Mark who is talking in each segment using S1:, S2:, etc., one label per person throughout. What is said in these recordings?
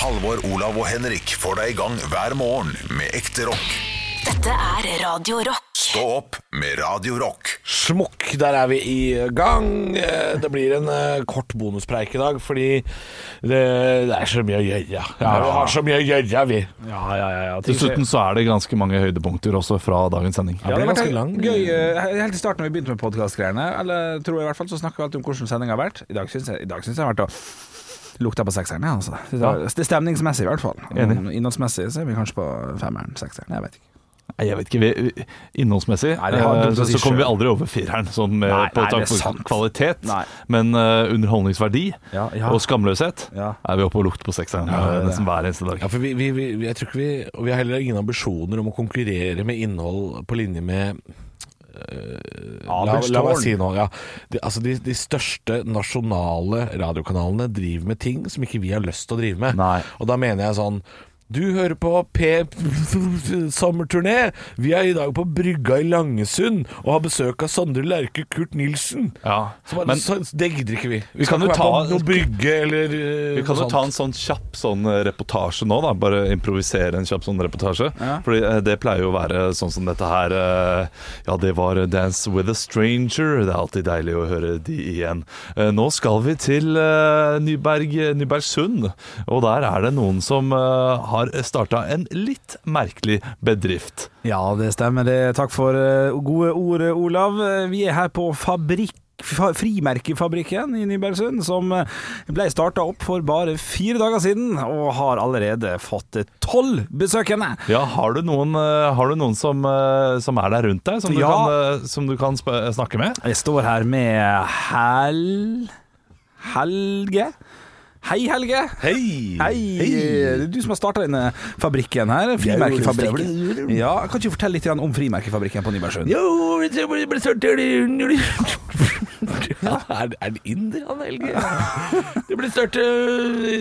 S1: Halvor, Olav og Henrik får deg i gang hver morgen med ekte rock.
S2: Dette er Radio Rock.
S1: Stå opp med Radio Rock.
S3: Smokk, der er vi i gang. Eh, Det blir en eh, kort bonuspreik i dag, fordi det, det er så mye å gjøre. Ja, vi har så mye å gjøre, vi.
S4: Ja, ja, ja, ja. ting skjer.
S5: Dessuten så er det ganske mange høydepunkter også fra dagens sending.
S4: Ja, det
S3: ble
S4: har vært
S3: ganske lang.
S4: Gøy, eh, helt i starten når vi begynte med podkastgreiene, eller tror jeg i hvert fall, så snakker vi alltid om hvordan sendinga har vært. I dag syns jeg, i dag synes jeg det har vært å lukte på sekseren, ja, altså. Det er- Det er stemningsmessig, i hvert fall. Om Innholdsmessig så er vi kanskje på femmeren, sekseren, jeg vet ikke.
S5: Nei, Jeg vet ikke, vi, Innholdsmessig
S4: Nei, det har
S5: eh,
S4: dumt å
S5: så,
S4: si
S5: så kommer vi
S4: selv.
S5: aldri over fireren sånn med,
S4: Nei,
S5: på
S4: nei,
S5: tanke
S4: det er
S5: på
S4: sant.
S5: kvalitet.
S4: Nei.
S5: Men eh, underholdningsverdi
S4: Ja, ja.
S5: og skamløshet
S4: Ja.
S5: er vi oppe og lukter på sekseren eh,
S4: det er det.
S5: nesten hver eneste dag.
S3: Ja, for vi, vi, vi, jeg tror ikke vi, og vi har heller ingen ambisjoner om å konkurrere med innhold på linje med øh, la, la meg
S4: Abelstårn.
S3: si noe. Ja. De, altså de, de største nasjonale radiokanalene driver med ting som ikke vi har lyst til å drive med.
S5: Nei.
S3: Og da mener jeg sånn du hører på P... sommerturné. Vi er i dag på brygga i Langesund og har besøk av Sondre Lerche Kurt Nilsen.
S5: Ja,
S3: Så bare,
S5: men-
S3: så, det gidder ikke vi. Vi, skal ikke
S5: kan jo
S3: være
S5: ta-
S3: på noe brygge eller øh,
S5: Vi kan
S3: noe
S5: jo ta
S3: sånt.
S5: en sånn kjapp sånn eh, reportasje nå, da. Bare improvisere en kjapp sånn reportasje. Fordi eh, det pleier jo å være sånn som dette her. eh, Ja, det var eh, 'Dance with a Stranger'. Det er alltid deilig å høre de igjen. Eh, Nå skal vi til eh, Nyberg, Nybergsund, og der er det noen som eh, har starta en litt merkelig bedrift.
S4: Ja, det stemmer det. Takk for eh, gode ord, eh, Olav. Eh, Vi er her på fabrikk. fa- Frimerkefabrikken i Nybergsund, som eh, ble starta opp for bare fire dager siden, og har allerede fått eh, tolv besøkende.
S5: Ja, har du noen, eh, har du noen som, eh, som er der rundt deg, som du
S4: Ja.
S5: kan, eh, som du kan sp- snakke med?
S4: Jeg står her med Hel... Helge. Hei, Helge.
S5: Hei!
S4: Hei. Det er du som har starta denne fabrikken her. Frimerkefabrikken. Ja, kan ikke du fortelle litt grann om frimerkefabrikken på Nybergsund?
S3: Jo, det ble- ble så dølig- ja, er, er det inder, han Helge? Det ble eh, starta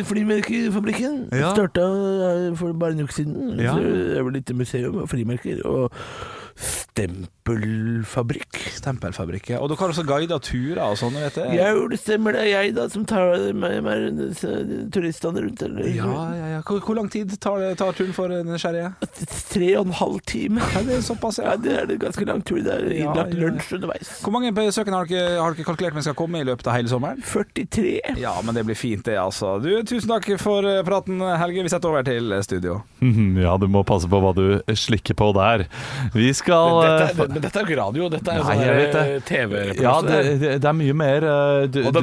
S3: Flymerkefabrikken.
S5: Ja.
S3: Starta eh, for bare en uke siden. Så Det ble litt museum og frimerker. Og stempelfabrikk.
S4: Stempelfabrikken. Og dere har også guida turer og sånn, vet jeg.
S3: Jo, det stemmer, det er jeg da som tar meg meg rundt, så- turistene rundt. Eller,
S4: Ja, ja, ja. Hvor, hvor lang tid tar, det- tar turen for en nysgjerrige?
S3: Tre og en halv time.
S4: Ja, det er såpass,
S3: Ja,
S4: ja.
S3: det er det ganske lang tur. Det er
S4: Ja,
S3: innlagt
S4: ja, ja.
S3: lunsj underveis.
S4: Hvor mange besøkende har dere, har dere kalkulert med skal komme i løpet av hele sommeren?
S3: 43.
S4: Ja, men det blir fint, det, altså. Du, tusen takk for eh, praten, Helge. Vi setter over til studio.
S5: Mhm, Ja, du må passe på hva du slikker på der. Vi skal
S3: Dette, er-
S5: eh,
S3: men dette er jo ikke radio, dette er jo
S5: Nei,
S3: sånn
S5: jeg
S3: der,
S5: vet det.
S3: TV-reportasje.
S5: ja, det, det, det er mye mer eh, du,
S3: og den
S5: du-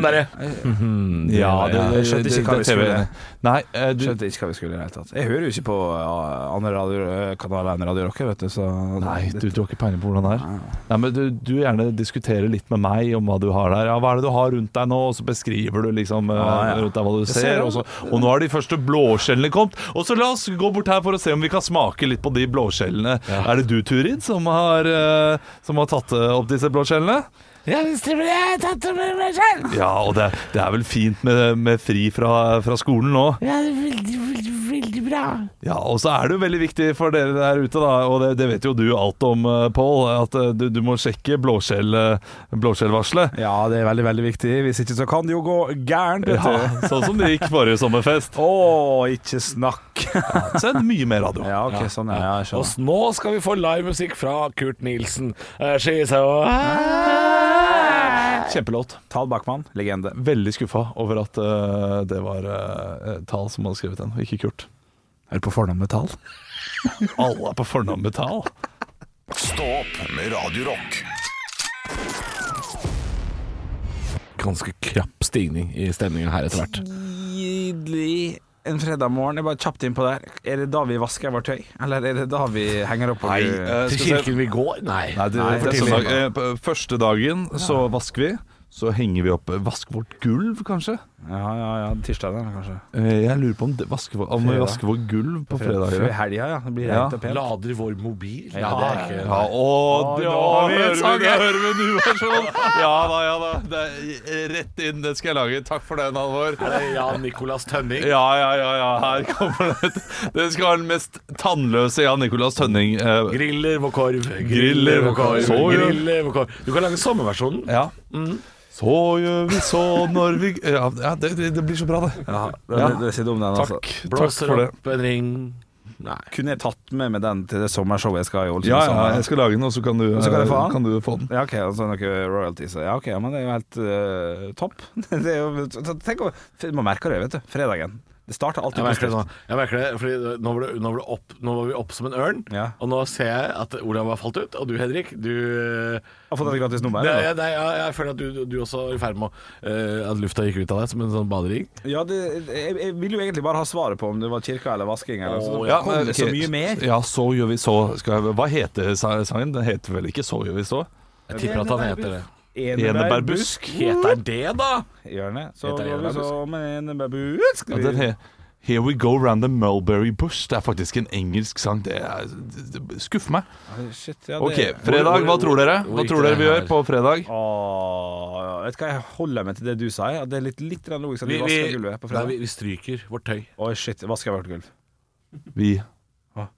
S5: Mhm,
S3: derre
S5: Ja,
S4: Ja, jeg
S5: det,
S4: skjønte
S5: det,
S4: ikke
S5: det,
S4: hva vi
S5: det er TV.
S4: skulle.
S5: Nei, eh, du,
S4: Skjønte ikke hva vi skulle i det hele tatt. Jeg hører jo ikke på ja, andre radio, kanaler enn Radio Rock, vet du, så
S5: nei du, du har ikke peiling på hvordan det er. Nei, men du, du gjerne diskuterer litt med meg om hva du har der. Ja, hva er det du har rundt deg nå? Og så beskriver du liksom eh,
S4: Ah, Ja, ja.
S5: rundt deg hva du
S4: ser
S5: ser.
S4: det.
S5: Og, så, og nå har de første blåskjellene kommet. Og så la oss gå bort her for å se om vi kan smake litt på de blåskjellene. Er det du, Turid, som har, eh, som har tatt eh, opp disse blåskjellene?
S3: Ja, det stemmer, jeg har tatt over meg selv!
S5: Ja, og det, det er vel fint med, med fri fra, fra skolen nå.
S3: Ja, det er veldig, veldig, veldig bra.
S5: Ja, Og så er det jo veldig viktig for dere der ute, da, og det, det vet jo du alt om, eh, Pål, at eh, du, du må sjekke blåskjell, eh, blåskjellvarselet.
S4: Ja, det er veldig, veldig viktig. Hvis ikke så kan det jo gå gærent, vet
S5: Ja,
S4: du.
S5: sånn som det gikk forrige sommerfest.
S4: Å, ikke snakk.
S5: Send mye mer radio.
S4: Ja, ok, sånn er det. Ja,
S3: Og
S4: jeg skjønner.
S3: s- nå skal vi få live musikk fra Kurt Nilsen. Eh, She's a
S5: Kjempelåt.
S4: Tal Backman, legende.
S5: Veldig skuffa over at eh, det var eh, Tal som hadde skrevet den, og ikke Kurt.
S4: Er du på fornavn med Tal?
S5: Alle er på fornavn med Tal.
S1: Stå opp med Radio Rock.
S3: Ganske krapp stigning i stemningen her etter hvert.
S4: Tidlig en fredag morgen. Jeg bare kjapt inn på der. Er det da vi vasker vårt tøy, eller er det da vi henger opp?
S5: Nei, eh,
S3: Til
S5: skal vi se-
S3: kirken vi går? Nei.
S5: Nei, det,
S4: Nei,
S5: det er
S4: for
S5: søndag.
S4: tidlig.
S5: Eh, på- Første dagen så vasker vi. Så henger vi opp eh, Vask vårt gulv, kanskje?
S4: Ja, ja, ja. Tirsdag, eller kanskje?
S5: Eh, Jeg lurer på om, det, vaske, om vi
S4: Fredag.
S5: vasker vårt gulv på fredag.
S4: Før helga, ja. Det blir
S5: Ja.
S4: rent og pent.
S3: Lader vår mobil? Ja,
S4: Ja,
S3: det er ikke
S5: Ja, og da
S3: nå hører vi
S5: hører
S3: en
S5: vi,
S3: sang,
S5: da
S3: jeg.
S5: hører vi en ny versjon! Ja da, ja da. Det er eh, rett inn. Den skal jeg lage. Takk for den, Halvor.
S3: Er det Jan Nicolas Tønning?
S5: Ja, ja, ja, ja, her kommer det. Den skal være den mest tannløse Jan Nicolas Tønning. Eh,
S3: Griller vår korv,
S5: Griller vår korv.
S3: griller vår korv. Du kan lage sommerversjonen.
S5: Ja. Så gjør vi så når vi Ja, ja det, det det blir så bra, det.
S4: Ja, det,
S5: Ja.
S4: det, det er ikke dum, den, altså.
S5: Takk, takk
S3: Blåser
S5: for det.
S3: opp en ring Nei.
S4: Kunne jeg tatt med meg den til det sommershowet jeg skal ha i Ålesund?
S5: Ja,
S4: i
S5: ja,
S4: sommer?
S5: jeg skal lage den, og så kan du, eh,
S4: så kan jeg få den?
S5: kan du få den.
S4: Ja, ok, altså noe royalties Ja, ok, ja, men det er jo helt eh, topp det er jo, t- t- Tenk å f- Man merker det, vet du, fredagen Det starter alltid
S3: Jeg
S4: på
S3: merker det nå.
S4: slutt.
S3: Jeg merker det, fordi nå, var det, nå, var det opp, nå var vi opp som en ørn,
S4: Ja.
S3: og nå ser jeg at Olav har falt ut. Og du, Henrik, du eh,
S4: Har fått et gratis nummer
S3: Nei,
S4: eller?
S3: jeg, nei, jeg, jeg føler at du, du også er i ferd med å eh, At lufta gikk ut av deg som en sånn badering.
S4: Ja, det, jeg, jeg ville jo egentlig bare ha svaret på Om det var kirka eller vasking eller, så,
S3: Å,
S4: ja,
S5: Ja,
S4: kom
S5: men,
S4: det så mye mer
S5: Ja, så gjør vi så skal jeg, Hva heter sa- sangen? Den heter vel ikke Så gjør vi så?
S3: Jeg tipper at han heter det.
S5: Enebærbusk.
S3: Heter det, da?
S4: Hjørne Så
S3: Heter
S4: går vi
S3: enebærbusk.
S4: så med enebærbusk
S5: Ja, den he, Here We Go Round the Mulberry Bush. Det er faktisk en engelsk sang. Det, er, det, det skuffer meg.
S4: Shit, ja, det
S5: Ok, fredag. Hva tror dere?
S3: hvor
S5: Hva
S3: gikk
S5: tror dere vi
S3: det her?
S5: gjør på fredag?
S4: Åh, vet du hva, jeg holder meg til det du sier at Det er litt, litt grann logisk at vi, vasker gulvet på
S3: nei,
S4: fredag
S3: vi, vi stryker vårt tøy.
S4: Åh, shit, vasker hvert gulv
S5: Vi
S4: Hva?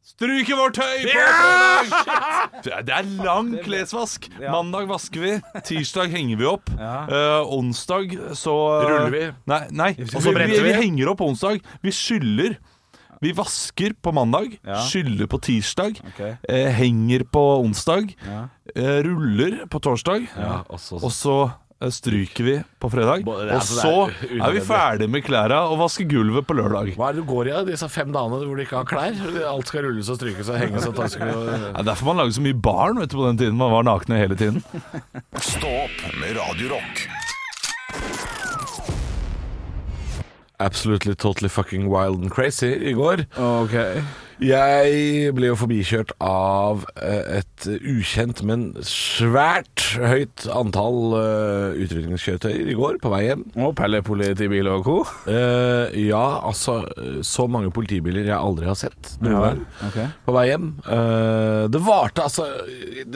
S5: Stryker vårt tøy på fredag! Det er- Det er lang klesvask.
S4: Ja.
S5: Mandag vasker vi, tirsdag henger vi opp.
S4: Ja.
S5: Eh, onsdag så eh,
S3: Ruller vi.
S5: Nei, nei.
S3: Og så
S5: Vi, vi,
S3: bretter vi.
S5: vi henger opp på onsdag. Vi skyller. Vi vasker på mandag,
S4: Ja.
S5: skyller på tirsdag,
S4: Ok.
S5: eh, henger på onsdag,
S4: Ja.
S5: eh, ruller på torsdag,
S3: og så
S5: og så eh, stryker vi på fredag.
S3: Bo- det er
S5: Og
S3: altså-
S5: så
S3: det er
S5: er vi
S3: unødvendig.
S5: ferdig med klærne og vasker gulvet på lørdag.
S3: Hva er det du går i av disse fem dagene hvor du ikke har klær? Alt skal rulles og strykes og henges og tas og
S5: Det er derfor man lager så mye barn vet du, på den tiden. Man var nakne hele tiden.
S4: Mm.
S1: Stå opp med Radio Rock.
S3: Absolutely totally fucking wild and crazy i går.
S4: Ok
S3: Jeg ble jo forbikjørt av eh, et ukjent, men svært høyt antall eh, utrydningskjøretøyer i går på vei hjem.
S4: Og Pelle politibil og co.
S3: Eh, ja, altså eh, Så mange politibiler jeg aldri har sett noen
S4: Ja vel,
S3: gang
S4: ok.
S3: på vei hjem. Eh, det varte altså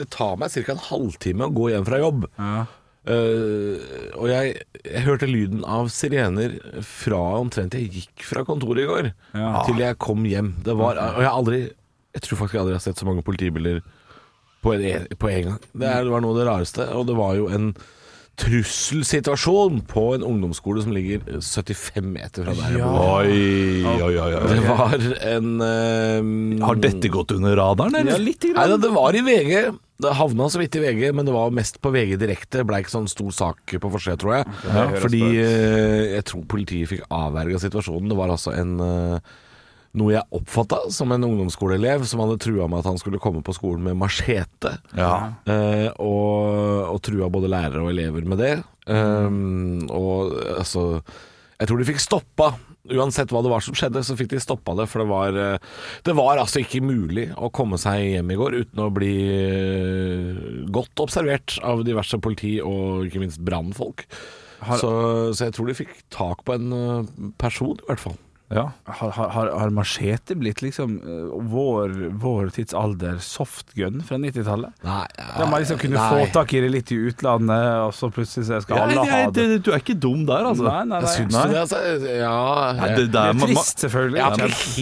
S3: Det tar meg ca. en halvtime å gå hjem fra jobb. Eh, og jeg, jeg hørte lyden av sirener fra omtrent jeg gikk fra kontoret i går,
S4: Ja.
S3: til jeg kom hjem. Det var, og jeg har aldri Jeg tror faktisk jeg aldri har sett så mange politibiler på en, på en gang. Det, er, det var noe av det rareste, og det var jo en trusselsituasjon på en ungdomsskole som ligger 75 meter fra der jeg bor.
S5: Oi, oi, oi,
S3: Det
S5: oi.
S3: var en eh,
S5: Har dette gått under radaren, eller?
S4: Ja, lite
S3: Nei, da,
S4: grann.
S3: det var i VG. Det havna så vidt i VG, men det var mest på VG direkte. Blei ikke sånn stor sak på forsida, tror jeg.
S4: det høres
S3: fordi
S4: bra ut.
S3: eh, jeg tror politiet fikk avverga situasjonen. Det var altså en eh, noe jeg oppfatta som en ungdomsskoleelev som hadde trua med at han skulle komme på skolen med machete.
S5: Ja.
S3: Eh, og, og trua både lærere og elever med det. Ehm, og eh, altså Jeg tror de fikk stoppa Uansett hva det var som skjedde, så fikk de stoppa det. For det var, eh, det var altså ikke mulig å komme seg hjem i går uten å bli eh, godt observert av diverse politi og ikke minst brannfolk. Så, så jeg tror de fikk tak på en eh, person, i hvert fall.
S5: Ja.
S4: Har, har, har, har machete blitt liksom eh, vår, vår tids alder softgun fra 90-tallet?
S3: Nei,
S4: Da man liksom kunne
S3: nei.
S4: få tak i det litt i utlandet, og så plutselig så skal
S5: Ja,
S4: alle ha
S5: jeg-
S4: det.
S5: det- du er ikke dum der, altså.
S4: Nei, nei, nei.
S5: Jeg syns
S3: Så det,
S5: det.
S3: er altså, ja,
S5: Nei,
S3: jeg-
S5: det der, man-
S4: Det er
S5: man-
S4: trist, selvfølgelig.
S3: Jeg har
S4: men-
S3: ikke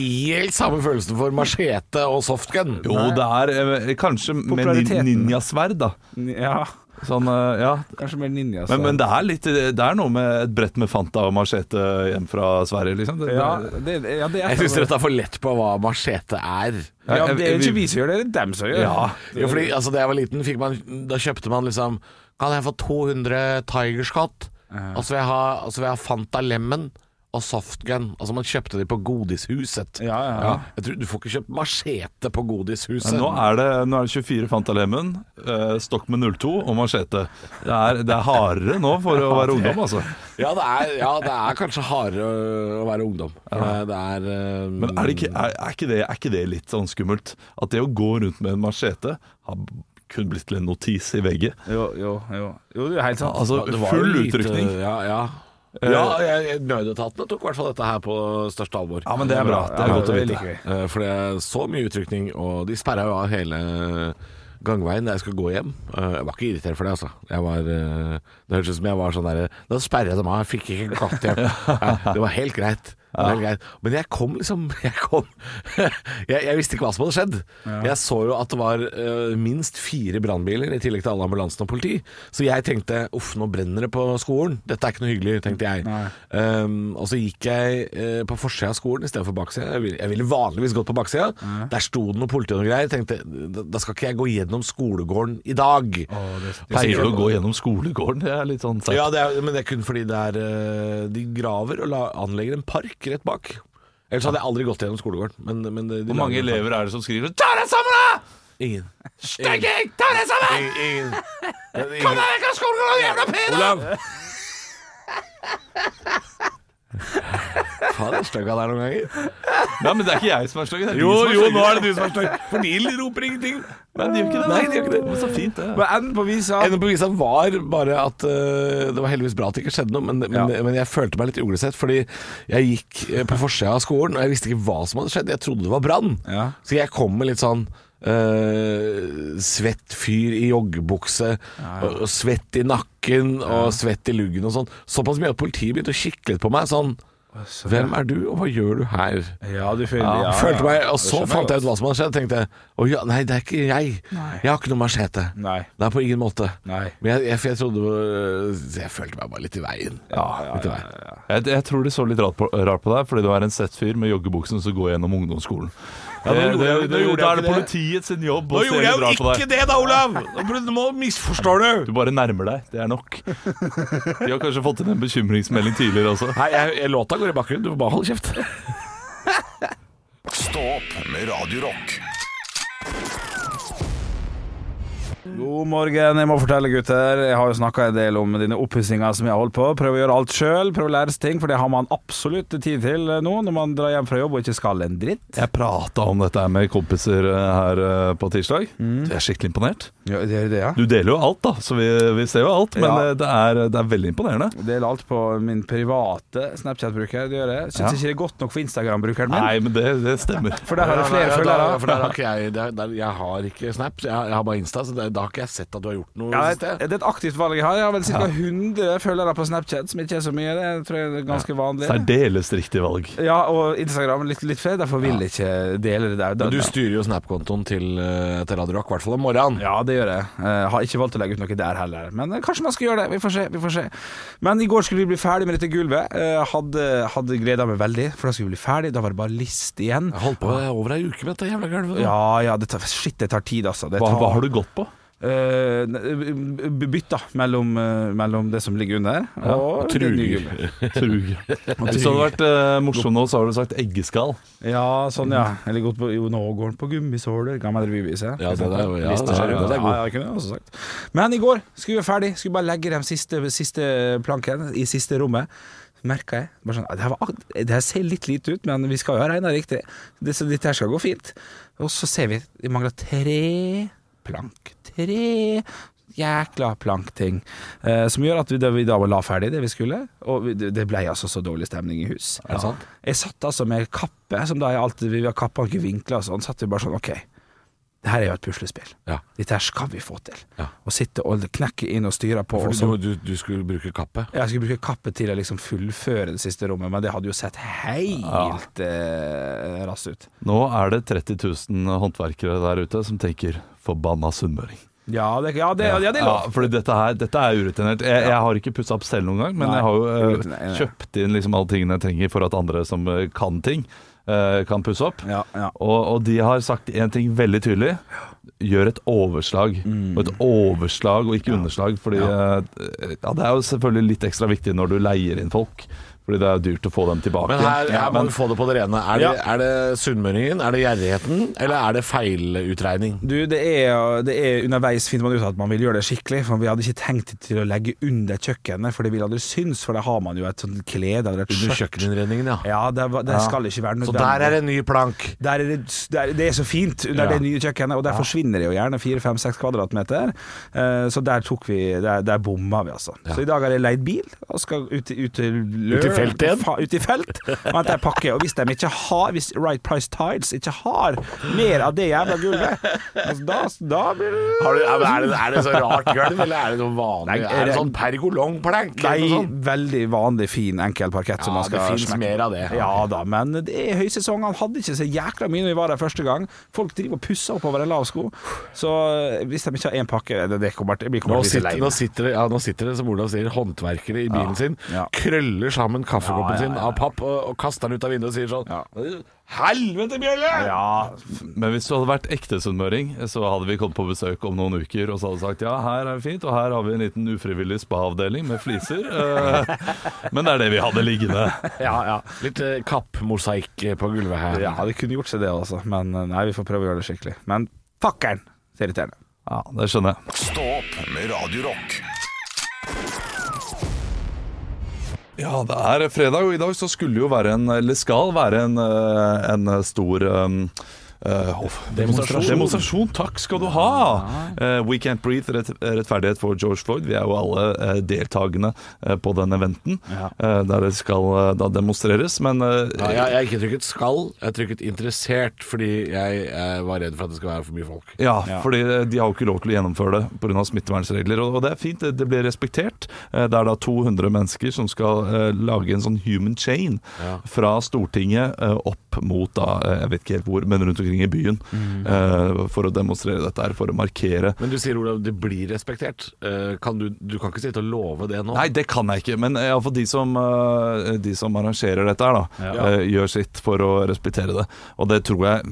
S3: helt samme følelsen for machete og softgun.
S5: Jo, det er eh, kanskje med nin-
S4: Populariteten.
S5: ninjasverd, da.
S4: ja,
S5: Sånn, eh, ja.
S4: kanskje mer ninja.
S5: Men, men det er litt Det er noe med et brett med Fanta og machete hjem fra Sverige, liksom. Det,
S4: ja,
S5: det,
S4: det, ja, det er sånn.
S3: Jeg syns dere tar for lett på hva machete er.
S4: ja, Det er jo ikke vi som gjør det, det er dem som gjør det.
S5: Ja.
S3: Jo, fordi altså, Da jeg var liten, fikk man, da kjøpte man liksom Kan jeg få 200 Tiger Scott? Og så vil jeg ha, og så vil jeg ha Fanta Lemon og Softgun. Altså Man kjøpte de på Godishuset.
S4: Ja, ja, ja.
S3: Jeg tror, du får ikke kjøpt machete på Godishuset.
S5: Men nå er det, nå er det 24 Fanta Lemon, eh, stokk med 02 og machete. Det er, det er hardere nå for å være ungdom, altså.
S3: ja, det er, ja, det er kanskje hardere å- å være ungdom. For Det er, eh,
S5: Men er, det ikke, er, er, ikke det, er ikke det litt sånn skummelt? At det å gå rundt med en machete har kun blitt til en notis i veggen.
S4: Jo, jo, jo. jo, det er helt sant.
S5: Altså
S3: det var jo
S5: full
S3: lite-
S5: utrykning. Eh,
S3: Ja, ja. ja jeg, jeg- nødetatene tok i hvert fall dette her på største alvor.
S5: Ja, men det er bra. Det
S4: Ja,
S5: er godt å
S4: det liker
S5: vite.
S4: vi.
S3: Eh, For det er så mye utrykning, og de sperra jo av hele gangveien da jeg skulle gå hjem. Eh, Jeg var ikke irritert for det, altså. Jeg var, eh, det hørtes ut som jeg var sånn derre Da sperret de av, jeg fikk ikke gått hjem. Nei, Det var helt greit. Det var helt greit. Men jeg kom liksom Jeg kom jeg, jeg visste ikke hva som hadde skjedd. Jeg så jo at det var eh, minst fire brannbiler, i tillegg til alle ambulansene og politi. Så jeg tenkte uff, nå brenner det på skolen. Dette er ikke noe hyggelig, tenkte jeg. Um, og så gikk jeg eh, på forsida av skolen istedenfor baksida. Jeg ville, jeg ville vanligvis gått på baksida. Der sto det noe politi og noe greier. Tenkte da, da skal ikke jeg gå gjennom skolegården i dag.
S5: Du sier du å gå gjennom skolegården, det er litt sånn seigt.
S3: Ja, det er, men det er kun fordi det er eh, De graver og la, anlegger en park rett bak. Ellers hadde jeg aldri gått gjennom skolegården. Men, men de, de
S5: Hvor mange
S3: lager en park.
S5: elever er det som skriver 'ta deg sammen, da!'
S3: Ingen.
S5: Stekking! Ta deg sammen!
S3: Ingen. ingen.
S5: Kom deg vekk av skolegården, jævla pedo!
S3: Olav! Faen, jeg støkka der noen ganger.
S5: Nei, men det er ikke jeg som er sløy.
S3: det du som er støkk. For de roper ingenting.
S5: Nei, de gjør ikke det.
S3: Nei, de gjør ikke det.
S5: Men Så fint, det.
S4: Men enden på visa
S3: Enden på visa var bare at eh, det var heldigvis bra at det ikke skjedde noe, men, men,
S4: Ja.
S3: men jeg følte meg litt uglesett, fordi jeg gikk eh, på forsida av skolen, og jeg visste ikke hva som hadde skjedd. Jeg trodde det var brann.
S4: Ja.
S3: Så jeg kom med litt sånn eh, svett fyr i joggebukse, Og, og svett i nakken, og svett i luggen og sånn. Såpass mye at politiet begynte å kikke litt på meg sånn Hvem er du, og hva gjør du her?
S4: Ja, du føler
S3: Ja,
S4: ja,
S3: følte meg, og
S4: Det
S3: så
S4: skjønner
S3: fant jeg
S4: jeg
S3: ut hva som hadde skjedd. Tenkte jeg å ja, nei, det er ikke jeg. Jeg har ikke noe machete.
S4: Nei.
S3: Nei, på ingen måte.
S4: Nei.
S3: Men jeg, jeg, for jeg trodde øh, Jeg følte meg bare litt i veien. litt i veien.
S5: Jeg, jeg tror de så litt rart på, rart på deg, fordi du er en sett fyr med joggebuksen som går gjennom ungdomsskolen.
S3: nå
S5: Eh, Det-
S3: gjorde
S5: det-
S3: jeg- nå
S5: det-
S3: gjorde jeg
S5: Da er det
S3: ikke
S5: politiet sin jobb å se litt rart på deg.
S3: det da, Olav! Nå misforstår
S5: Du bare nærmer deg. Det er nok. De har kanskje fått inn en bekymringsmelding tidligere også.
S3: Nei, jeg, jeg, låta går i bakgrunnen. Du får bare holde kjeft.
S1: Stå opp med Radio Rock.
S4: God morgen. Jeg må fortelle, gutter. Jeg har jo snakka en del om dine oppussinger som jeg har holdt på. Prøv å gjøre alt sjøl. Prøv å lære seg ting, for det har man absolutt tid til eh, nå når man drar hjem fra jobb og ikke skal en dritt.
S5: Jeg prata om dette her med kompiser eh, her eh, på tirsdag. Du Jeg er skikkelig imponert.
S4: Ja, det er det, ja.
S5: Du deler jo alt, da, så vi, vi ser jo alt. Men
S4: Ja.
S5: eh, det, er, det er veldig imponerende.
S4: Del alt på min private Snapchat-bruker. Det gjør jeg. Syns
S5: Ja.
S4: ikke det er godt nok for Instagram-brukeren min.
S5: Nei, men det, det stemmer.
S4: For der har jeg flere følgere.
S3: for der har ikke jeg, der, der, jeg har ikke Snap, så jeg, jeg har bare Insta, så der, da har ikke jeg sett at du har gjort noe
S4: Ja,
S3: ja,
S4: det
S3: sted.
S4: det er et aktivt valg jeg har. Jeg har vel ca. 100 følgere på Snapchat, som ikke er så mye. Det tror jeg er ganske vanlig.
S5: Særdeles riktig valg.
S4: Ja, og Instagram litt, litt flere, derfor vil jeg ikke dele det der.
S3: Men du styrer jo Snap-kontoen til, eh, til Radio Rock, i hvert fall om morgenen.
S4: Ja, det gjør jeg. Eh, har ikke valgt å legge ut noe der heller. Men eh, kanskje man skal gjøre det. Vi får se. vi får se Men i går skulle vi bli ferdig med dette gulvet. Eh, hadde hadde gleda meg veldig, for da skulle vi bli ferdig. Da var det bare list igjen.
S3: Jeg holdt på over ei uke med dette jævla gulvet. nå.
S4: Ja ja, det tar, shit, det tar tid, altså. Det
S5: Hva,
S4: tar,
S5: hva har du gått på?
S4: Eh, ne- b- Bytta mellom, eh, mellom det som ligger under, og det nye
S3: truger.
S4: gulvet.
S5: Trug. Hvis det hadde vært eh, morsomt nå, så hadde du sagt eggeskall.
S4: Ja, sånn, ja. Eller gått på Jo, nå går den på gummisåler. Gammel revyvise.
S3: Ja, det der, ja, ja,
S4: Lister seg
S3: ja,
S4: rundt.
S3: det er god.
S4: Ja, ja, det kunne jeg også sagt. Men i går skulle vi være ferdig. Skulle bare legge den siste, siste planken i siste rommet. Merka jeg. Bare sånn, det, her var, ak- det her ser litt lite ut, men vi skal jo ha regna riktig. Det, så dette her skal gå fint. Og så ser vi vi mangler tre plank. Tre jækla plankting. Eh, som gjør at vi da, vi da la ferdig det vi skulle. Og vi, det det ble altså så dårlig stemning i hus.
S3: Er det sant?
S4: Jeg satt altså med kappe, som da jeg alltid Vi har kappa ikke vinkler og sånn. Satt vi bare sånn, OK. Det her er jo et puslespill.
S3: Ja.
S4: Dette her skal vi få til.
S3: Ja.
S4: Å sitte og knekke inn og styre på. Og så,
S3: For du, du, du skulle bruke kappe.
S4: jeg skulle bruke kappe til å liksom fullføre det siste rommet, men det hadde jo sett helt eh, raskt ut.
S5: Nå er det 30 000 håndverkere der ute som tenker 'forbanna sunnmøring'.
S4: Ja, det, ja, det, ja, det er lov.
S5: fordi dette, her, dette er urutinert. Jeg, jeg har ikke pussa opp selv noen gang, men
S4: Nei,
S5: jeg har jo eh,
S4: urutinert, ja.
S5: kjøpt inn liksom alle tingene jeg trenger for at andre som eh, kan ting, eh, kan pusse opp.
S4: Ja, ja.
S5: Og, og de har sagt én ting veldig tydelig. Gjør et overslag. Og et overslag og ikke underslag. Fordi eh, ja, det er jo selvfølgelig litt ekstra viktig når du leier inn folk. Fordi det er jo dyrt å få dem tilbake.
S3: Men her,
S5: Ja,
S3: her må
S5: men-
S3: vi få det på det rene. Er det,
S4: Ja.
S3: er det sunnmøringen, er det gjerrigheten, eller er det feilutregning?
S4: Du, det er, det er underveis finner man ut at man vil gjøre det skikkelig, for vi hadde ikke tenkt til å legge under kjøkkenet, for det vil aldri synes, for der har man jo et sånt klede eller et
S3: Under
S4: skjørt.
S3: kjøkkeninnredningen, ja.
S4: Ja, det, var- det skal ikke være
S3: Så
S4: nødvendig.
S3: der er en ny plank.
S4: Der er det, der, det er så fint under
S3: Ja.
S4: det nye kjøkkenet, og der forsvinner det jo gjerne 4-5-6 kvadratmeter. Eh, Så der tok vi Der, der bomma vi, altså. Så i dag har jeg leid bil og skal ut, ut til
S3: Ut i i felt igjen.
S4: Fa- Ut i felt. Og at de pakker. Og hvis de ikke har Hvis Right Price Tiles ikke har mer av det jævla gulvet, altså, da, da blir det
S3: Har du, er, det, er det så rart gulv, eller er det noe vanlig?
S4: Nei,
S3: er det
S4: det-
S3: sånn pergolongplank? eller noe
S4: Nei,
S5: sånn?
S3: sånt?
S4: veldig vanlig fin enkel parkett som
S3: Ja,
S4: man skal
S3: det finnes
S4: smekke.
S3: mer av det.
S4: Ja da, men det er høysesong. Han hadde ikke så jækla mye når vi var der første gang. Folk driver og pusser oppover en lav sko. Så eh, hvis de ikke har én pakke Det, det kommer til, jeg blir
S3: Nå
S4: kommer
S3: sitter,
S4: til å bli så lei
S3: nå,
S4: meg.
S3: sitter det, ja, nå sitter det, som Olav sier, håndverkere i bilen sin,
S4: ja.
S3: krøller sammen kaffekoppen
S4: Ja, ja, ja,
S3: sin av papp og, og kaster den ut av vinduet og sier sånn
S4: Ja.
S3: Helvete, Bjølle!
S4: Ja,
S5: Men hvis du hadde vært ekte sunnmøring, så hadde vi kommet på besøk om noen uker og så hadde du sagt ja, her er det fint, og her har vi en liten ufrivillig spaavdeling med fliser. eh, Men det er det vi hadde liggende.
S3: Ja, ja. Litt eh, kappmosaikk eh, på gulvet her.
S4: ja, det kunne gjort seg det, altså. Men eh, nei, vi får prøve å gjøre det skikkelig. Men fakkeren! Så irriterende.
S5: Ja, det skjønner jeg.
S1: Stå opp med Radio Rock.
S5: Ja, det er fredag, og i dag så skulle jo være en, eller skal være en, eh, en stor eh, eh, hoff-
S3: Demonstrasjon.
S5: Demonstrasjon, takk skal du ha! Eh, We Can't Breathe, rett, rettferdighet for George Floyd. Vi er jo alle eh, deltakende eh, på den eventen, eh, der det skal eh, da demonstreres. Men eh,
S3: Ja, jeg, jeg har ikke trykket 'skal', jeg har trykket 'interessert', fordi jeg, eh, var redd for at det skal være for mye folk.
S5: Ja, fordi eh, de har jo ikke lov til å gjennomføre det pga. smittevernregler. Og og det er fint, det- det blir respektert. Eh, Det er da 200 mennesker som skal eh, lage en sånn human chain fra Stortinget eh, opp mot da, eh, jeg vet ikke helt hvor, men rundt omkring i byen. eh, For å demonstrere dette her, for å markere.
S3: Men du sier, Olav, det blir respektert. Eh, Kan du, du kan ikke sitte og love det nå?
S5: Nei, det kan jeg ikke, men iallfall de, som, eh, de som arrangerer dette her, da,
S3: Ja.
S5: eh, gjør sitt for å respektere det. Og det tror jeg,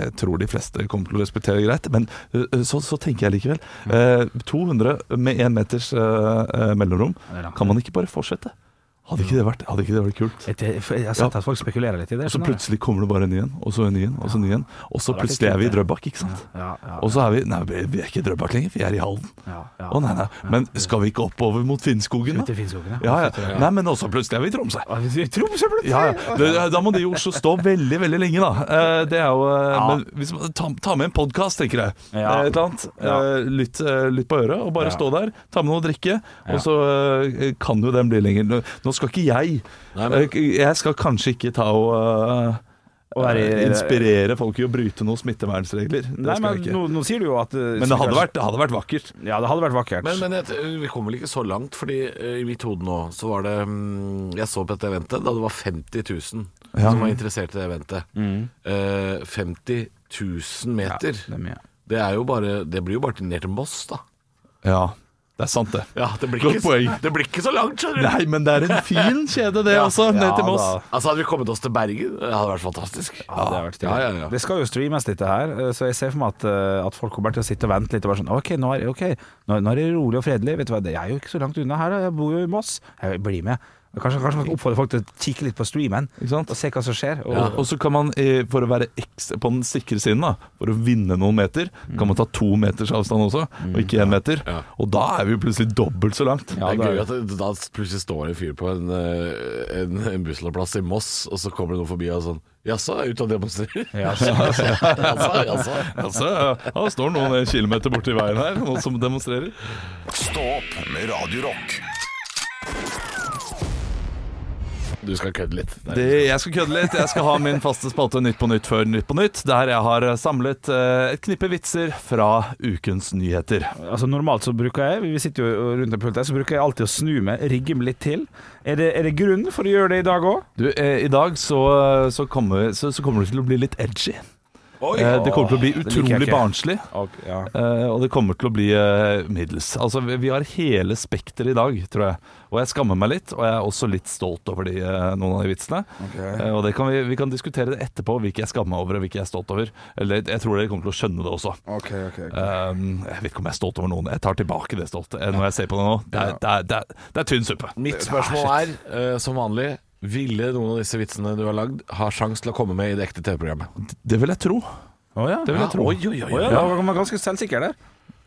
S5: jeg tror de fleste kommer til å respektere greit, men eh, så, så tenker jeg likevel.
S4: Mm.
S5: eh, 200 med én meters eh, eh, mellomrom, kan man ikke bare fortsette? Hadde ikke det vært, hadde ikke det vært kult?
S4: Jeg, jeg, eh, jeg har sett at folk spekulerer litt i det.
S5: Og så
S4: skjønner du?
S5: plutselig kommer det bare en ny en, og så en ny en, og så en ny en. Og så
S4: vært litt
S5: plutselig er vi i
S4: kult,
S5: Drøbak, ikke sant?
S4: Ja, ja,
S5: Og så er vi Nei, vi vi er ikke i Drøbak lenger, vi er i Halden.
S4: ja, ja.
S5: Å nei, nei. Men skal vi ikke oppover mot Finnskogen,
S4: Ut
S5: da?
S4: i Finnskogen, ja.
S5: Ja, ja. Nei, men også plutselig er vi i Tromsø.
S4: Å, vi- Tromsø plutselig!
S5: Ja, ja. Det- Da må de i Oslo stå veldig, veldig lenge, da. Eh, Det er jo eh, Men hvis man, ta, ta med en podkast, tenker jeg.
S4: Ja.
S5: Eh, Et eller annet.
S4: Ja.
S5: Eh, Lytt, eh, lytt på øret, og bare
S4: Ja.
S5: stå der. Ta med noe å drikke, og så eh, kan jo den bli lenger. Nå- Nå skal ikke jeg
S3: Nei, men-
S5: eh, Jeg skal kanskje ikke ta og eh,
S4: Og være i-
S5: eh, inspirere folk i å bryte noen smittevernregler. Det
S4: Nei,
S5: skal
S4: men
S5: jeg ikke.
S4: nå, nå sier du jo at eh,
S5: Men det hadde
S4: sikkert-
S5: vært, det hadde vært vakkert.
S4: Ja, det hadde vært vakkert.
S3: Men, men jeg, eh, vi kom vel ikke så langt, fordi eh, i mitt hode nå så var det mm, Jeg så på dette eventet da det var 50 000
S5: Ja.
S3: som var interessert i det eventet. Eh, 50 000 meter.
S4: det er mye.
S3: det, er jo bare, det blir jo bare til- ned til Moss, da.
S5: Ja, det er sant, det.
S3: Ja, det, blir
S5: Godt
S3: ikke,
S5: poeng.
S3: det blir ikke så langt, skjønner du.
S5: Nei, men det er en fin kjede, det også, ned
S4: ja
S5: til Moss.
S4: da.
S3: Altså Hadde vi kommet oss til Bergen, det hadde vært fantastisk.
S4: Ja, det, har vært stilig.
S3: Ja, ja, ja.
S4: det skal jo streames dette her, eh, så jeg ser for meg at, eh, at folk kommer til å sitte og vente litt. Og bare sånn, ok, nå er, ok, nå, nå er det rolig og fredelig. Vet du hva, det er jo ikke så langt unna her, da. jeg bor jo i Moss. Jeg blir med. Kanskje, kanskje man skal oppfordre folk til å kikke litt på streamen
S5: Ikke sant?
S4: og se hva som skjer. Og,
S5: Og- Og så kan man, eh, for å være ekstra, på den sikre siden, da, for å vinne noen meter, kan man ta to meters avstand også, og ikke én meter.
S3: Ja.
S5: Og da er vi jo plutselig dobbelt så langt.
S4: Ja,
S3: det er gøy
S4: det
S3: at det, da plutselig står en fyr på en, eh, en, en bussholdeplass i Moss, og så kommer det noen forbi og sånn Jaså, er jeg ute og demonstrerer? Jaså, jaså, jaså.
S5: Altså, ja, det står noen eh, kilometer borti veien her, noen som demonstrerer.
S1: Stå opp med Radio Rock.
S3: Du skal kødde litt. Det er-
S5: Det, jeg skal kødde litt. Jeg skal ha min faste spalte Nytt på nytt før Nytt på nytt, der jeg har eh, samlet eh, et knippe vitser fra ukens nyheter.
S4: altså, normalt så bruker jeg, vi sitter jo rundt en pult her, så bruker jeg alltid å snu meg, rigge meg litt til. Er det, er det grunn for å gjøre det i dag òg?
S5: Du, eh, I dag så, så, kommer, så, så kommer det til å bli litt edgy. Eh, det kommer til å bli
S4: det liker jeg
S5: utrolig
S4: ikke.
S5: barnslig.
S4: Ja.
S5: Eh, og det kommer til å bli eh, middels. Altså, vi, vi har hele spekteret i dag, tror jeg. Og jeg skammer meg litt, og jeg er også litt stolt over de, eh, noen av de vitsene. Eh, og det kan vi, vi kan diskutere det etterpå, hvilke jeg skammer meg over og hvilke jeg er stolt over. Eller jeg tror dere kommer til å skjønne det også. Um, jeg vet ikke om jeg er stolt over noen. Jeg tar tilbake det stolte eh, når jeg ser på det nå. Det er, det er, det er, det er tynn suppe.
S3: Mitt spørsmål er, eh, som vanlig, ville noen av disse vitsene du har lagd, ha sjans til å komme med i det ekte TV-programmet?
S5: Det vil jeg tro.
S4: Å ja.
S5: Det vil jeg tro.
S3: oi, oi, oi,
S4: Å, ja,
S5: Ja.
S4: da var man ganske selvsikker der.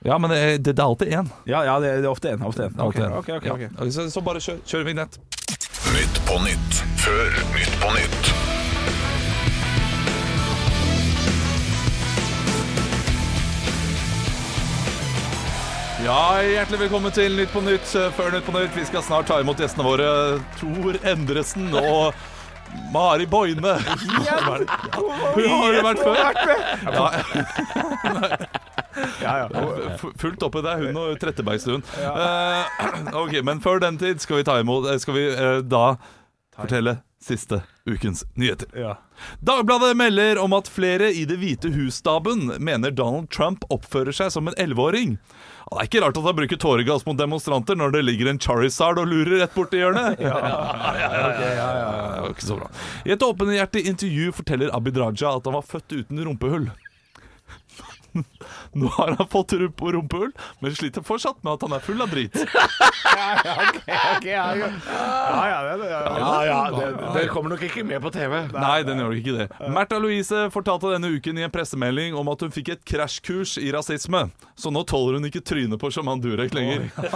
S5: Ja, men eh, det, det er alltid én.
S4: Ja, ja, det, det er ofte en. Ofte en.
S5: Alltid en.
S4: Ok, ok, ok, ok.
S5: Ja. Så, så bare kjør, kjør vignett.
S1: Nytt på nytt før Nytt på nytt.
S5: Ja, Hjertelig velkommen til Nytt på Nytt eh, før Nytt på Nytt. Vi skal snart ta imot gjestene våre Tor Endresen og Mari Boine. Ja, Hun har jo vært før. Ja. F- Fullt oppi der, hun og Trettebergstuen. Eh, ok, Men før den tid skal vi ta imot eh, Skal vi eh, da fortelle siste ukens nyheter.
S4: Ja.
S5: Dagbladet melder om at flere i Det hvite husstaben mener Donald Trump oppfører seg som en 11-åring. Det er ikke rart at han bruker tåregass mot demonstranter når det ligger en charizard og lurer rett borti hjørnet. Ja, ja, ja, Det var ikke så bra. I et åpenhjertig intervju forteller Abid Raja at han var født uten rumpehull. Nå har han fått rump- rumpehull, men sliter fortsatt med at han er full av drit.
S3: Ja, ja, det, det kommer nok ikke med på TV.
S5: Nei, den gjør ikke det. Märtha Louise fortalte denne uken i en pressemelding om at hun fikk et krasjkurs i rasisme, så nå tåler hun ikke trynet på Sjaman Durek lenger.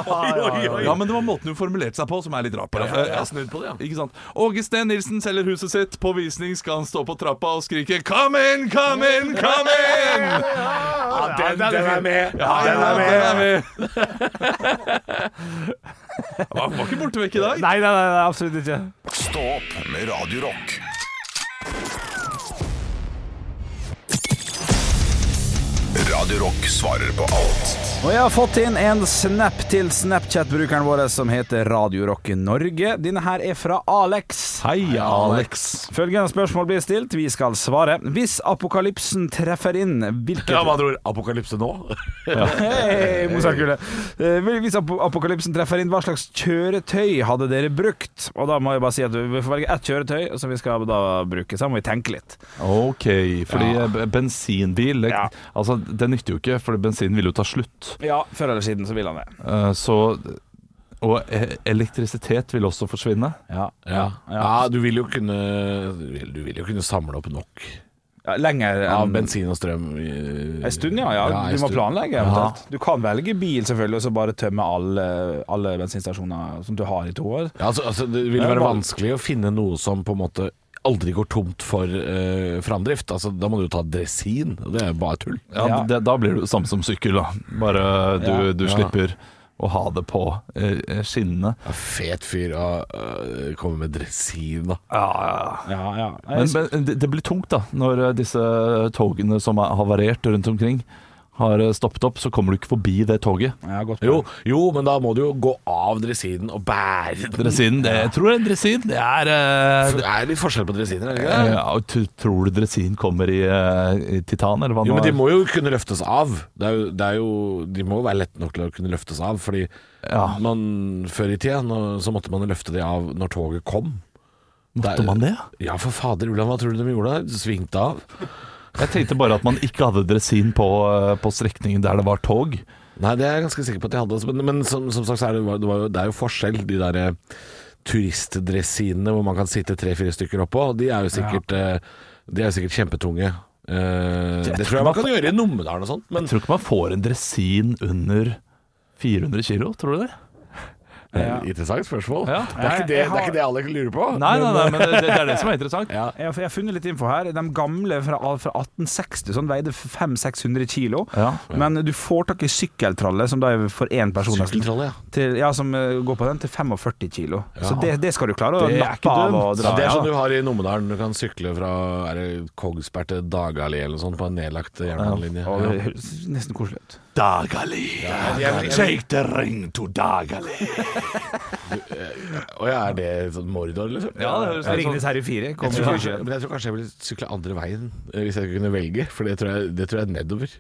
S5: Ja, men det var måten hun formulerte seg på som er litt rar på det.
S3: Jeg har snudd på det, ja.
S5: Ikke sant? Åge Steen Nilsen selger huset sitt. På visning skal han stå på trappa og skrike 'Come in, come in, come in'!
S3: den, er med.
S5: Ja, den er med! Den er med. Var var ikke borte vekk i dag.
S4: Nei, nei, nei, nei, absolutt ikke.
S1: Stå opp med Radio Rock. Radio Rock svarer på alt.
S4: Og jeg har fått inn en snap til Snapchat-brukeren vår som heter Radio Rock Norge. Denne her er fra Alex.
S5: Hei, Alex.
S4: Følgende spørsmål blir stilt, vi skal svare. Hvis apokalypsen treffer inn, hvilket
S3: Ja, med andre ord, apokalypse nå?
S4: Hei, Mozartkule. Eh, vel, Hvis ap apokalypsen treffer inn, hva slags kjøretøy hadde dere brukt? Og da må jeg bare si at vi får velge ett kjøretøy som vi skal da bruke. Så da må vi tenke litt.
S5: Ok, fordi
S4: Ja.
S5: eh, b- bensinbil det,
S4: Ja.
S5: Altså, det nytter jo ikke, for bensinen vil jo ta slutt.
S4: Ja, før eller siden så vil han det.
S5: Eh, Så Og e- elektrisitet vil også forsvinne.
S4: Ja.
S3: Ja. du vil jo kunne du vil, du vil jo kunne samle opp nok
S4: Lenger enn
S3: av bensin og strøm. i-
S4: Mm. En stund, ja. ja.
S3: en
S4: Du må
S3: stund.
S4: planlegge. eventuelt. Du kan velge bil, selvfølgelig, og så bare tømme alle, alle bensinstasjoner som du har i to år.
S3: Ja, altså, altså, det vil
S4: Det er
S3: være
S4: van-
S3: vanskelig å finne noe som på en måte aldri går tomt for eh, framdrift. Altså, da må du jo ta dresin. og Det er jo bare tull.
S5: Ja,
S4: Ja.
S5: Det, da blir det jo samme som sykkel, da. Bare du,
S4: Ja.
S5: du
S3: Ja.
S5: slipper å ha det på eh, skinnene.
S3: Ja, fet fyr å øh, komme med dresin, da.
S4: Ja, ja.
S5: Men,
S4: Jeg,
S5: men det det blir tungt, da, når eh, disse togene som er havarert rundt omkring, har eh, stoppet opp, så kommer du ikke forbi det toget.
S4: jeg har gått på.
S3: Jo, jo, men da må du jo gå av dresinen og bære den.
S5: Dresinen, det, jeg tror det er en dresin. Det er eh,
S3: Det er litt forskjell på dresiner, er det ikke det?
S5: ja, og t- Tror du dresin kommer i, eh, i titan, eller hva
S3: Jo,
S5: nå
S3: men de
S5: er?
S3: må jo kunne løftes av. Det er jo, det er jo, de må jo være lette nok til å kunne løftes av. Fordi
S5: Ja.
S3: man, før i tida nå- så måtte man jo løfte de av når toget kom.
S5: Måtte man det?
S3: Ja, for fader Ulan, hva tror du de gjorde? da? Svingte av?
S5: Jeg tenkte bare at man ikke hadde dresin på, eh, på strekningen der det var tog.
S3: Nei, det er jeg ganske sikker på at de hadde. altså, Men, men som, som sagt, så er det, det, var jo, det er jo forskjell. De der eh, turistdressinene hvor man kan sitte tre-fire stykker oppå, de er jo sikkert, eh, de er jo sikkert kjempetunge. Eh, det tror jeg man kan gjøre i Numedalen og sånt. Men
S5: Jeg tror ikke man får en dresin under 400 kilo, tror du det?
S4: Ja.
S3: Eh, interessant spørsmål.
S5: Ja.
S3: Det, er ikke det, det er ikke det alle lurer på.
S5: Nei, nei, nei, men det, det er det som er interessant.
S3: Ja.
S4: Jeg, har- jeg har funnet litt info her. De gamle fra, fra 1860 sånn, veide 500-600 kilo.
S5: Ja.
S4: Men du får tak i sykkeltralle, som da er for én person. nesten,
S3: Sykkeltrollet, ja.
S4: Til, ja, som eh, går på den, til 45 kilo. Så
S3: Ja.
S4: det, det skal du klare å
S5: Det er ikke
S4: nappe av og
S5: dumt.
S4: dra.
S3: Ja, det er sånn
S4: ja.
S3: du har i Numedalen. Du kan sykle fra er det Kongsberg til Dagali eller noe sånt på en nedlagt eh, jernbanelinje.
S4: Å,
S3: Ja.
S4: det høres nesten koselig ut.
S5: Dagali. Take the ring to Dagali.
S3: Og ja, er det sånn Mordor, liksom?
S5: Ja, det høres litt sånn
S4: Ringnes herre 4
S3: Jeg
S4: kommer
S3: tror,
S4: kanskje.
S3: kanskje, men jeg tror kanskje jeg ville sykle andre veien eh, hvis jeg kunne velge, for det tror jeg, det tror jeg er nedover.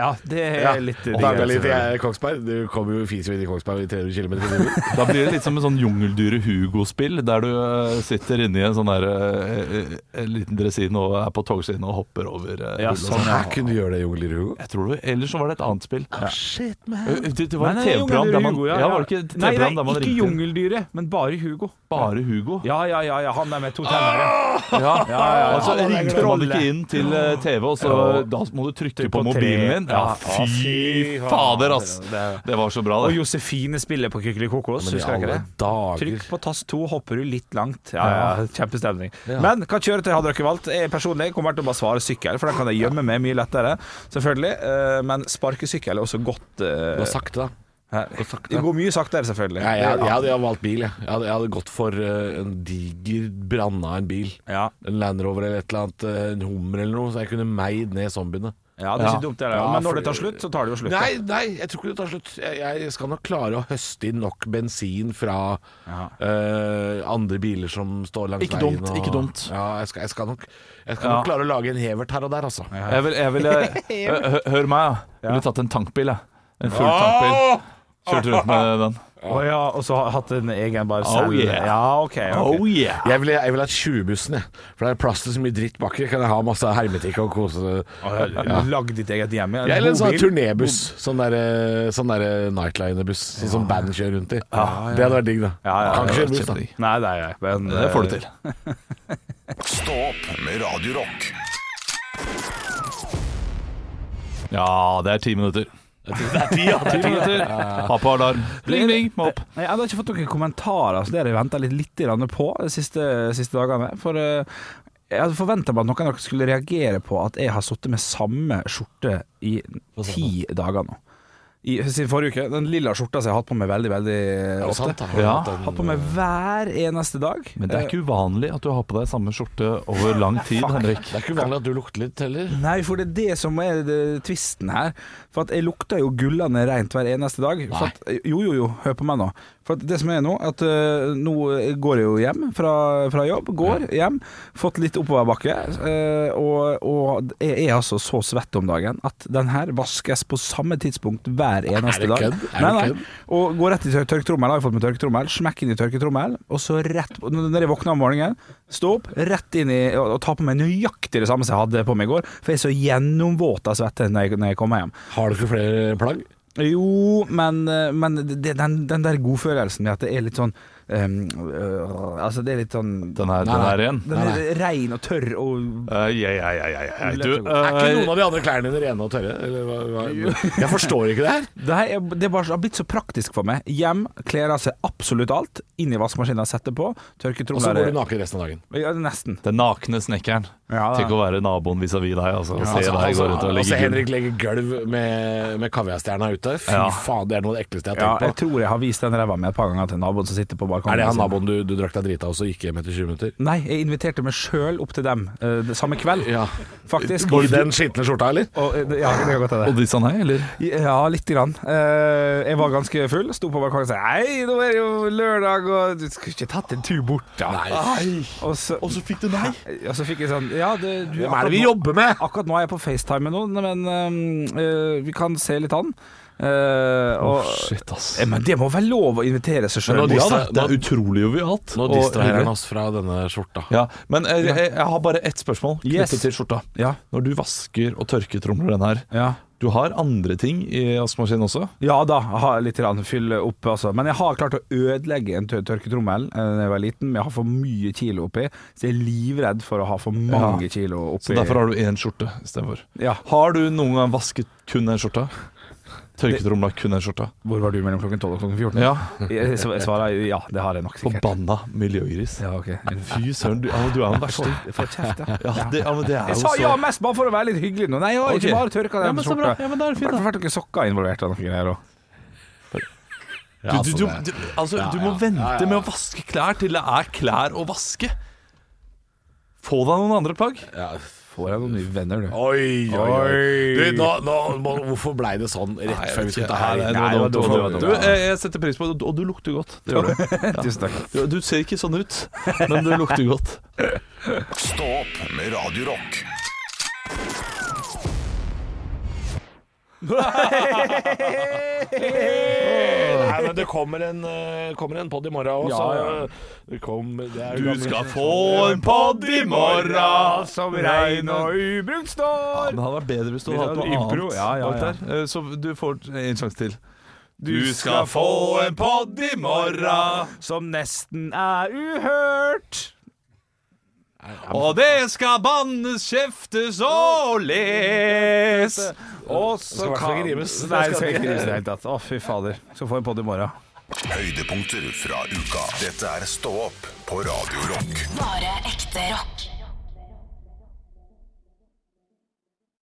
S4: Ja, det er
S3: Ja,
S4: litt altså.
S3: og Dagali til jeg- Kongsberg. Du kommer jo fiser inn i Kongsberg i 300 km i timen.
S5: Da blir det litt som en sånn jungeldyret Hugo-spill, der du eh, sitter inni en sånn der eh, eh, en liten dresin og er på togsiden og hopper over eh,
S4: Ja,
S5: hull og
S4: sånn,
S5: sånn.
S3: Her kunne du gjøre det, Jungel Rugo.
S5: Jeg tror det, Ellers så var det et annet spill.
S3: Shit, man.
S5: Eh, Det, det
S4: Nei,
S5: var et
S4: nei,
S5: TV-program
S4: Jungeldyret
S5: der man
S4: Hugo, ja,
S5: Ja,
S4: ja.
S5: var det ikke et
S4: Nei, nei,
S5: TV-program der man
S4: ikke
S5: ringte inn
S4: Jungeldyret, men bare Hugo.
S5: bare Hugo?
S4: Ja, ja, ja, ja han der med to tenner.
S5: Ja,
S4: ja.
S5: Og så
S4: Ja,
S5: ringte man
S4: trollet.
S5: ikke inn til eh, TV, og så da må du trykke på
S4: på
S5: mobilen
S4: tre.
S5: din. Ja,
S4: Ja,
S5: fy
S4: fy
S5: fader, ass!
S4: fader, det-
S5: Det var så bra,
S4: Og
S5: det.
S4: Josefine spiller på Kykelikokos,
S3: Men i
S4: husker jeg ikke
S3: alle
S4: det?
S3: dager
S4: Trykk på tast to, hopper du litt langt. Ja, ja, Kjempestemning. Men hva kjøretøy hadde dere valgt? Jeg personlig kommer til å bare svare sykkel, for den kan jeg gjemme meg mye lettere, selvfølgelig. Eh, Men sparkesykkel er også godt.
S3: Det var
S4: eh,
S3: sakte, da.
S4: Her. Det går mye saktere, selvfølgelig.
S3: Ja, jeg, jeg, hadde, jeg hadde valgt bil, jeg. Jeg hadde, jeg hadde gått for eh, en diger branna en bil.
S4: Ja.
S3: En Land Rover eller et eller annet, eh, en Hummer eller noe, så jeg kunne meid ned zombiene.
S4: Ja, det er ikke dumt, det. er det.
S3: Ja,
S4: men når
S3: for-
S4: det tar slutt, så tar det jo slutt.
S3: Nei, nei, jeg tror ikke det tar slutt. Jeg, jeg skal nok klare å høste inn nok bensin fra
S4: Ja.
S3: eh, andre biler som står langs
S5: Ikke
S3: veien.
S5: dumt, ikke dumt.
S3: Ja, jeg skal, jeg skal, nok, jeg skal
S5: Ja.
S3: nok klare å lage en hevert her og der, altså.
S5: Jeg vil, jeg vil
S4: eh,
S5: hø- hø- Hør meg, da. Jeg ville tatt en tankbil, jeg. En full tankbil.
S3: Åh!
S5: Kjørt rundt med den.
S4: Å ja, og så har hatt en egen bare
S5: Oh,
S4: selv.
S5: yeah.
S4: Ja, ok. ok.
S5: Oh, yeah.
S3: Jeg ville jeg vil ha 20-bussen, jeg. For det er plass til så mye dritt baki. Kan jeg ha masse hermetikk og kose
S4: Oh, Å, Lag ditt eget hjem. Ja.
S3: Ja, eller en sånn
S4: Bobil.
S3: turnébuss. Sånn derre sånn der nightliner-buss sånn som band kjører rundt i. Det hadde vært digg, da.
S4: Ja,
S3: kan
S4: ja, ja,
S3: ikke kjøre
S5: det
S3: buss,
S5: hadde
S3: da.
S5: vært kjempedigg.
S4: Nei, nei, nei, men
S5: Det får du til.
S1: Stå opp med Radio Rock.
S5: Ja, det er ti minutter. Det er ti minutter. Ha på alarm. Ring, ring. Må opp.
S4: Nei, Jeg har ikke fått noen kommentarer, så det har jeg venta litt, litt grann på de siste, siste dagene. For eh, jeg hadde forventa meg at noen av dere skulle reagere på at jeg har sittet med samme skjorte i ti dager nå. I, siden forrige uke. Den lilla skjorta som jeg har hatt på meg veldig, veldig
S3: Det er
S4: ofte.
S3: sant, da. Har
S5: Ja.
S3: du hatt en-
S4: Har på meg hver eneste dag.
S5: Men det er ikke uvanlig at du har på deg samme skjorte over lang tid, Henrik.
S3: Det er ikke uvanlig at du lukter litt heller.
S4: Nei, for det er det som er det, tvisten her. For at jeg lukter jo gullene rent hver eneste dag. For at, jo, jo, jo, hør på meg nå. For at det som er nå, at øh, nå går jeg jo hjem fra, fra jobb. Går hjem. Fått litt oppoverbakke. øh, og og jeg er altså så svett om dagen at den her vaskes på samme tidspunkt hver eneste
S3: det
S4: dag.
S3: kødd? Er det
S4: Nei, nei.
S3: kødd?
S4: Og går rett i tør- tørketrommel, har jeg fått med tørketrommel, smekk inn i tørketrommel, og så rett på, når jeg våkner om morgenen, stå opp, rett inn i, og, og ta på meg nøyaktig det samme som jeg hadde på meg i går, for jeg er så gjennomvåt av svette når jeg, når jeg kommer hjem.
S3: Har du ikke flere plagg?
S4: Jo, men, eh, men det, den, den der godfølelsen med at det er litt sånn ehm, øh, Altså, det er litt sånn
S5: Den her, den her igjen.
S4: Den er rein og tørr og
S5: Eh, ja, ja, ja, ja, ja. Du,
S3: Er ikke noen
S5: eh,
S3: av de andre klærne dine rene og tørre? Eller hva, hva? Jeg forstår ikke det her.
S4: Det, her er, det er bare, det har blitt så praktisk for meg. Hjem, kler av seg absolutt alt. Inn i vaskemaskinen, setter på.
S3: Og så
S4: Tørketromler
S3: går du naken resten av dagen.
S4: Ja, nesten.
S5: den nakne snekkeren.
S4: Ja,
S5: Tenk å være naboen vis-à-vis deg, Ah. altså. og Se deg gå rundt
S3: og se
S5: og ligge i
S3: altså, Henrik legge gulv med, med kaviarstjerna ute. Fy
S5: Ja.
S3: faen, det er noe av det ekleste jeg
S4: Ja,
S3: har
S4: jeg
S3: tenkt på.
S4: tror jeg har vist den ræva mi et par ganger til naboen som sitter på balkongen.
S3: Er det han
S4: sin.
S3: naboen du, du drakk deg drita av og så gikk hjem etter 20 minutter?
S4: Nei, jeg inviterte meg sjøl opp til dem eh, det samme kveld,
S3: Ja.
S4: faktisk.
S3: I den skitne skjorta, eller?
S4: Og, eh, ja, det kan godt hende.
S5: Og de sa nei, eller?
S4: Ja, lite grann. Eh, jeg var ganske full, sto på balkongen og sa Hei, nå er det jo lørdag, og du skulle ikke tatt en tur bort, da. Og så, og
S5: Ah, så fikk du nei.
S4: så fikk jeg sånn Ja, det, du
S3: Hvem er det vi
S4: akkurat nå-
S3: jobber med?
S4: Akkurat nå er jeg på FaceTime med noen, men ehm, eh, vi kan se litt an. Eh, og,
S5: Shit, ass.
S4: eh, men det må være lov å invitere seg sjøl
S3: Men nå
S5: Ja,
S3: distra-
S5: da, det er utrolig jovialt.
S3: Nå
S5: og
S3: distraherer
S5: hyggelig.
S3: han oss fra denne skjorta.
S5: Ja, men jeg, jeg, jeg har bare ett spørsmål knyttet
S4: Yes.
S5: til skjorta.
S4: Ja.
S5: Når du vasker og tørketromler den her,
S4: Ja.
S5: du har andre ting i vaskemaskinen også?
S4: Ja da, jeg har litt grann fyll opp, altså. Men jeg har klart å ødelegge en tør tørketrommel eh, da jeg var liten. Men jeg har for mye kilo oppi, så jeg er livredd for å ha for mange
S5: Ja.
S4: kilo oppi.
S5: Så derfor har du én skjorte istedenfor.
S4: Ja.
S5: Har du noen gang vasket kun den skjorta? Tørketromla kun den skjorta?
S4: Hvor var du mellom klokken 12 og klokken 14?
S5: Ja.
S4: Jeg sv- jeg svarer jo ja, det har jeg nok sikkert.
S5: Forbanna miljøgris.
S4: Ja, ok.
S5: Fy søren, du, ja, men du er en versting.
S4: Jeg får kjeft, ja.
S5: Ja, det, ja, men det er
S4: Jeg
S5: jo
S4: sa ja
S5: så
S4: mest bare for å være litt hyggelig nå. Nei, jeg har
S5: Ok.
S4: ikke bare tørka
S5: Ja,
S4: den
S5: men så bra.
S4: skjorta.
S5: Ja, men da er det fint,
S4: Har
S5: da.
S4: vært noen sokker involvert og noen greier òg.
S3: Ja,
S5: du,
S3: altså,
S5: du,
S3: det-
S5: du, altså, du må
S3: ja.
S5: vente
S3: Ja, ja, ja.
S5: med å vaske klær til det er klær å vaske. Få deg noen andre plagg.
S3: Ja.
S4: Får jeg noen nye venner, du.
S3: Oi, oi, oi. Du,
S4: Oi.
S3: nå, nå, må- hvorfor blei det sånn rett før vi skulle ta her?
S5: Nei, det
S4: Nei,
S5: var
S4: det var
S5: dumt, det var
S4: dumt.
S5: dumt. Du, jeg, jeg setter pris på det, og du lukter godt. Det gjør du.
S4: Tusen takk.
S5: Du, du ser ikke sånn ut, men du lukter godt.
S1: Stå opp med Radio Rock.
S3: Nei, men det kommer en, eh, kommer en pod i morgen òg,
S4: Ja, ja.
S3: så det kom, det er jo
S5: Du
S3: gammel-
S5: skal få en pod i morgen
S4: Som rein og ubrukt
S5: Men
S4: står.
S5: det hadde vært bedre hvis du hadde hatt noe
S4: Impro,
S5: annet.
S4: ja, ja, ja.
S5: bak der. Eh, Så du får en sjanse til. Du skal få en pod i morgen,
S4: Som nesten er uhørt.
S5: og det skal bannes, kjeftes og les.
S4: Og så
S3: skal i hvert fall
S4: kan
S3: ikke rimes.
S4: Nei, det skal ikke rimes i det hele tatt. Å, fy fader. Skal få en podd i morgen.
S1: Høydepunkter fra uka. Dette er Stå opp på Radio Rock.
S2: Bare ekte rock.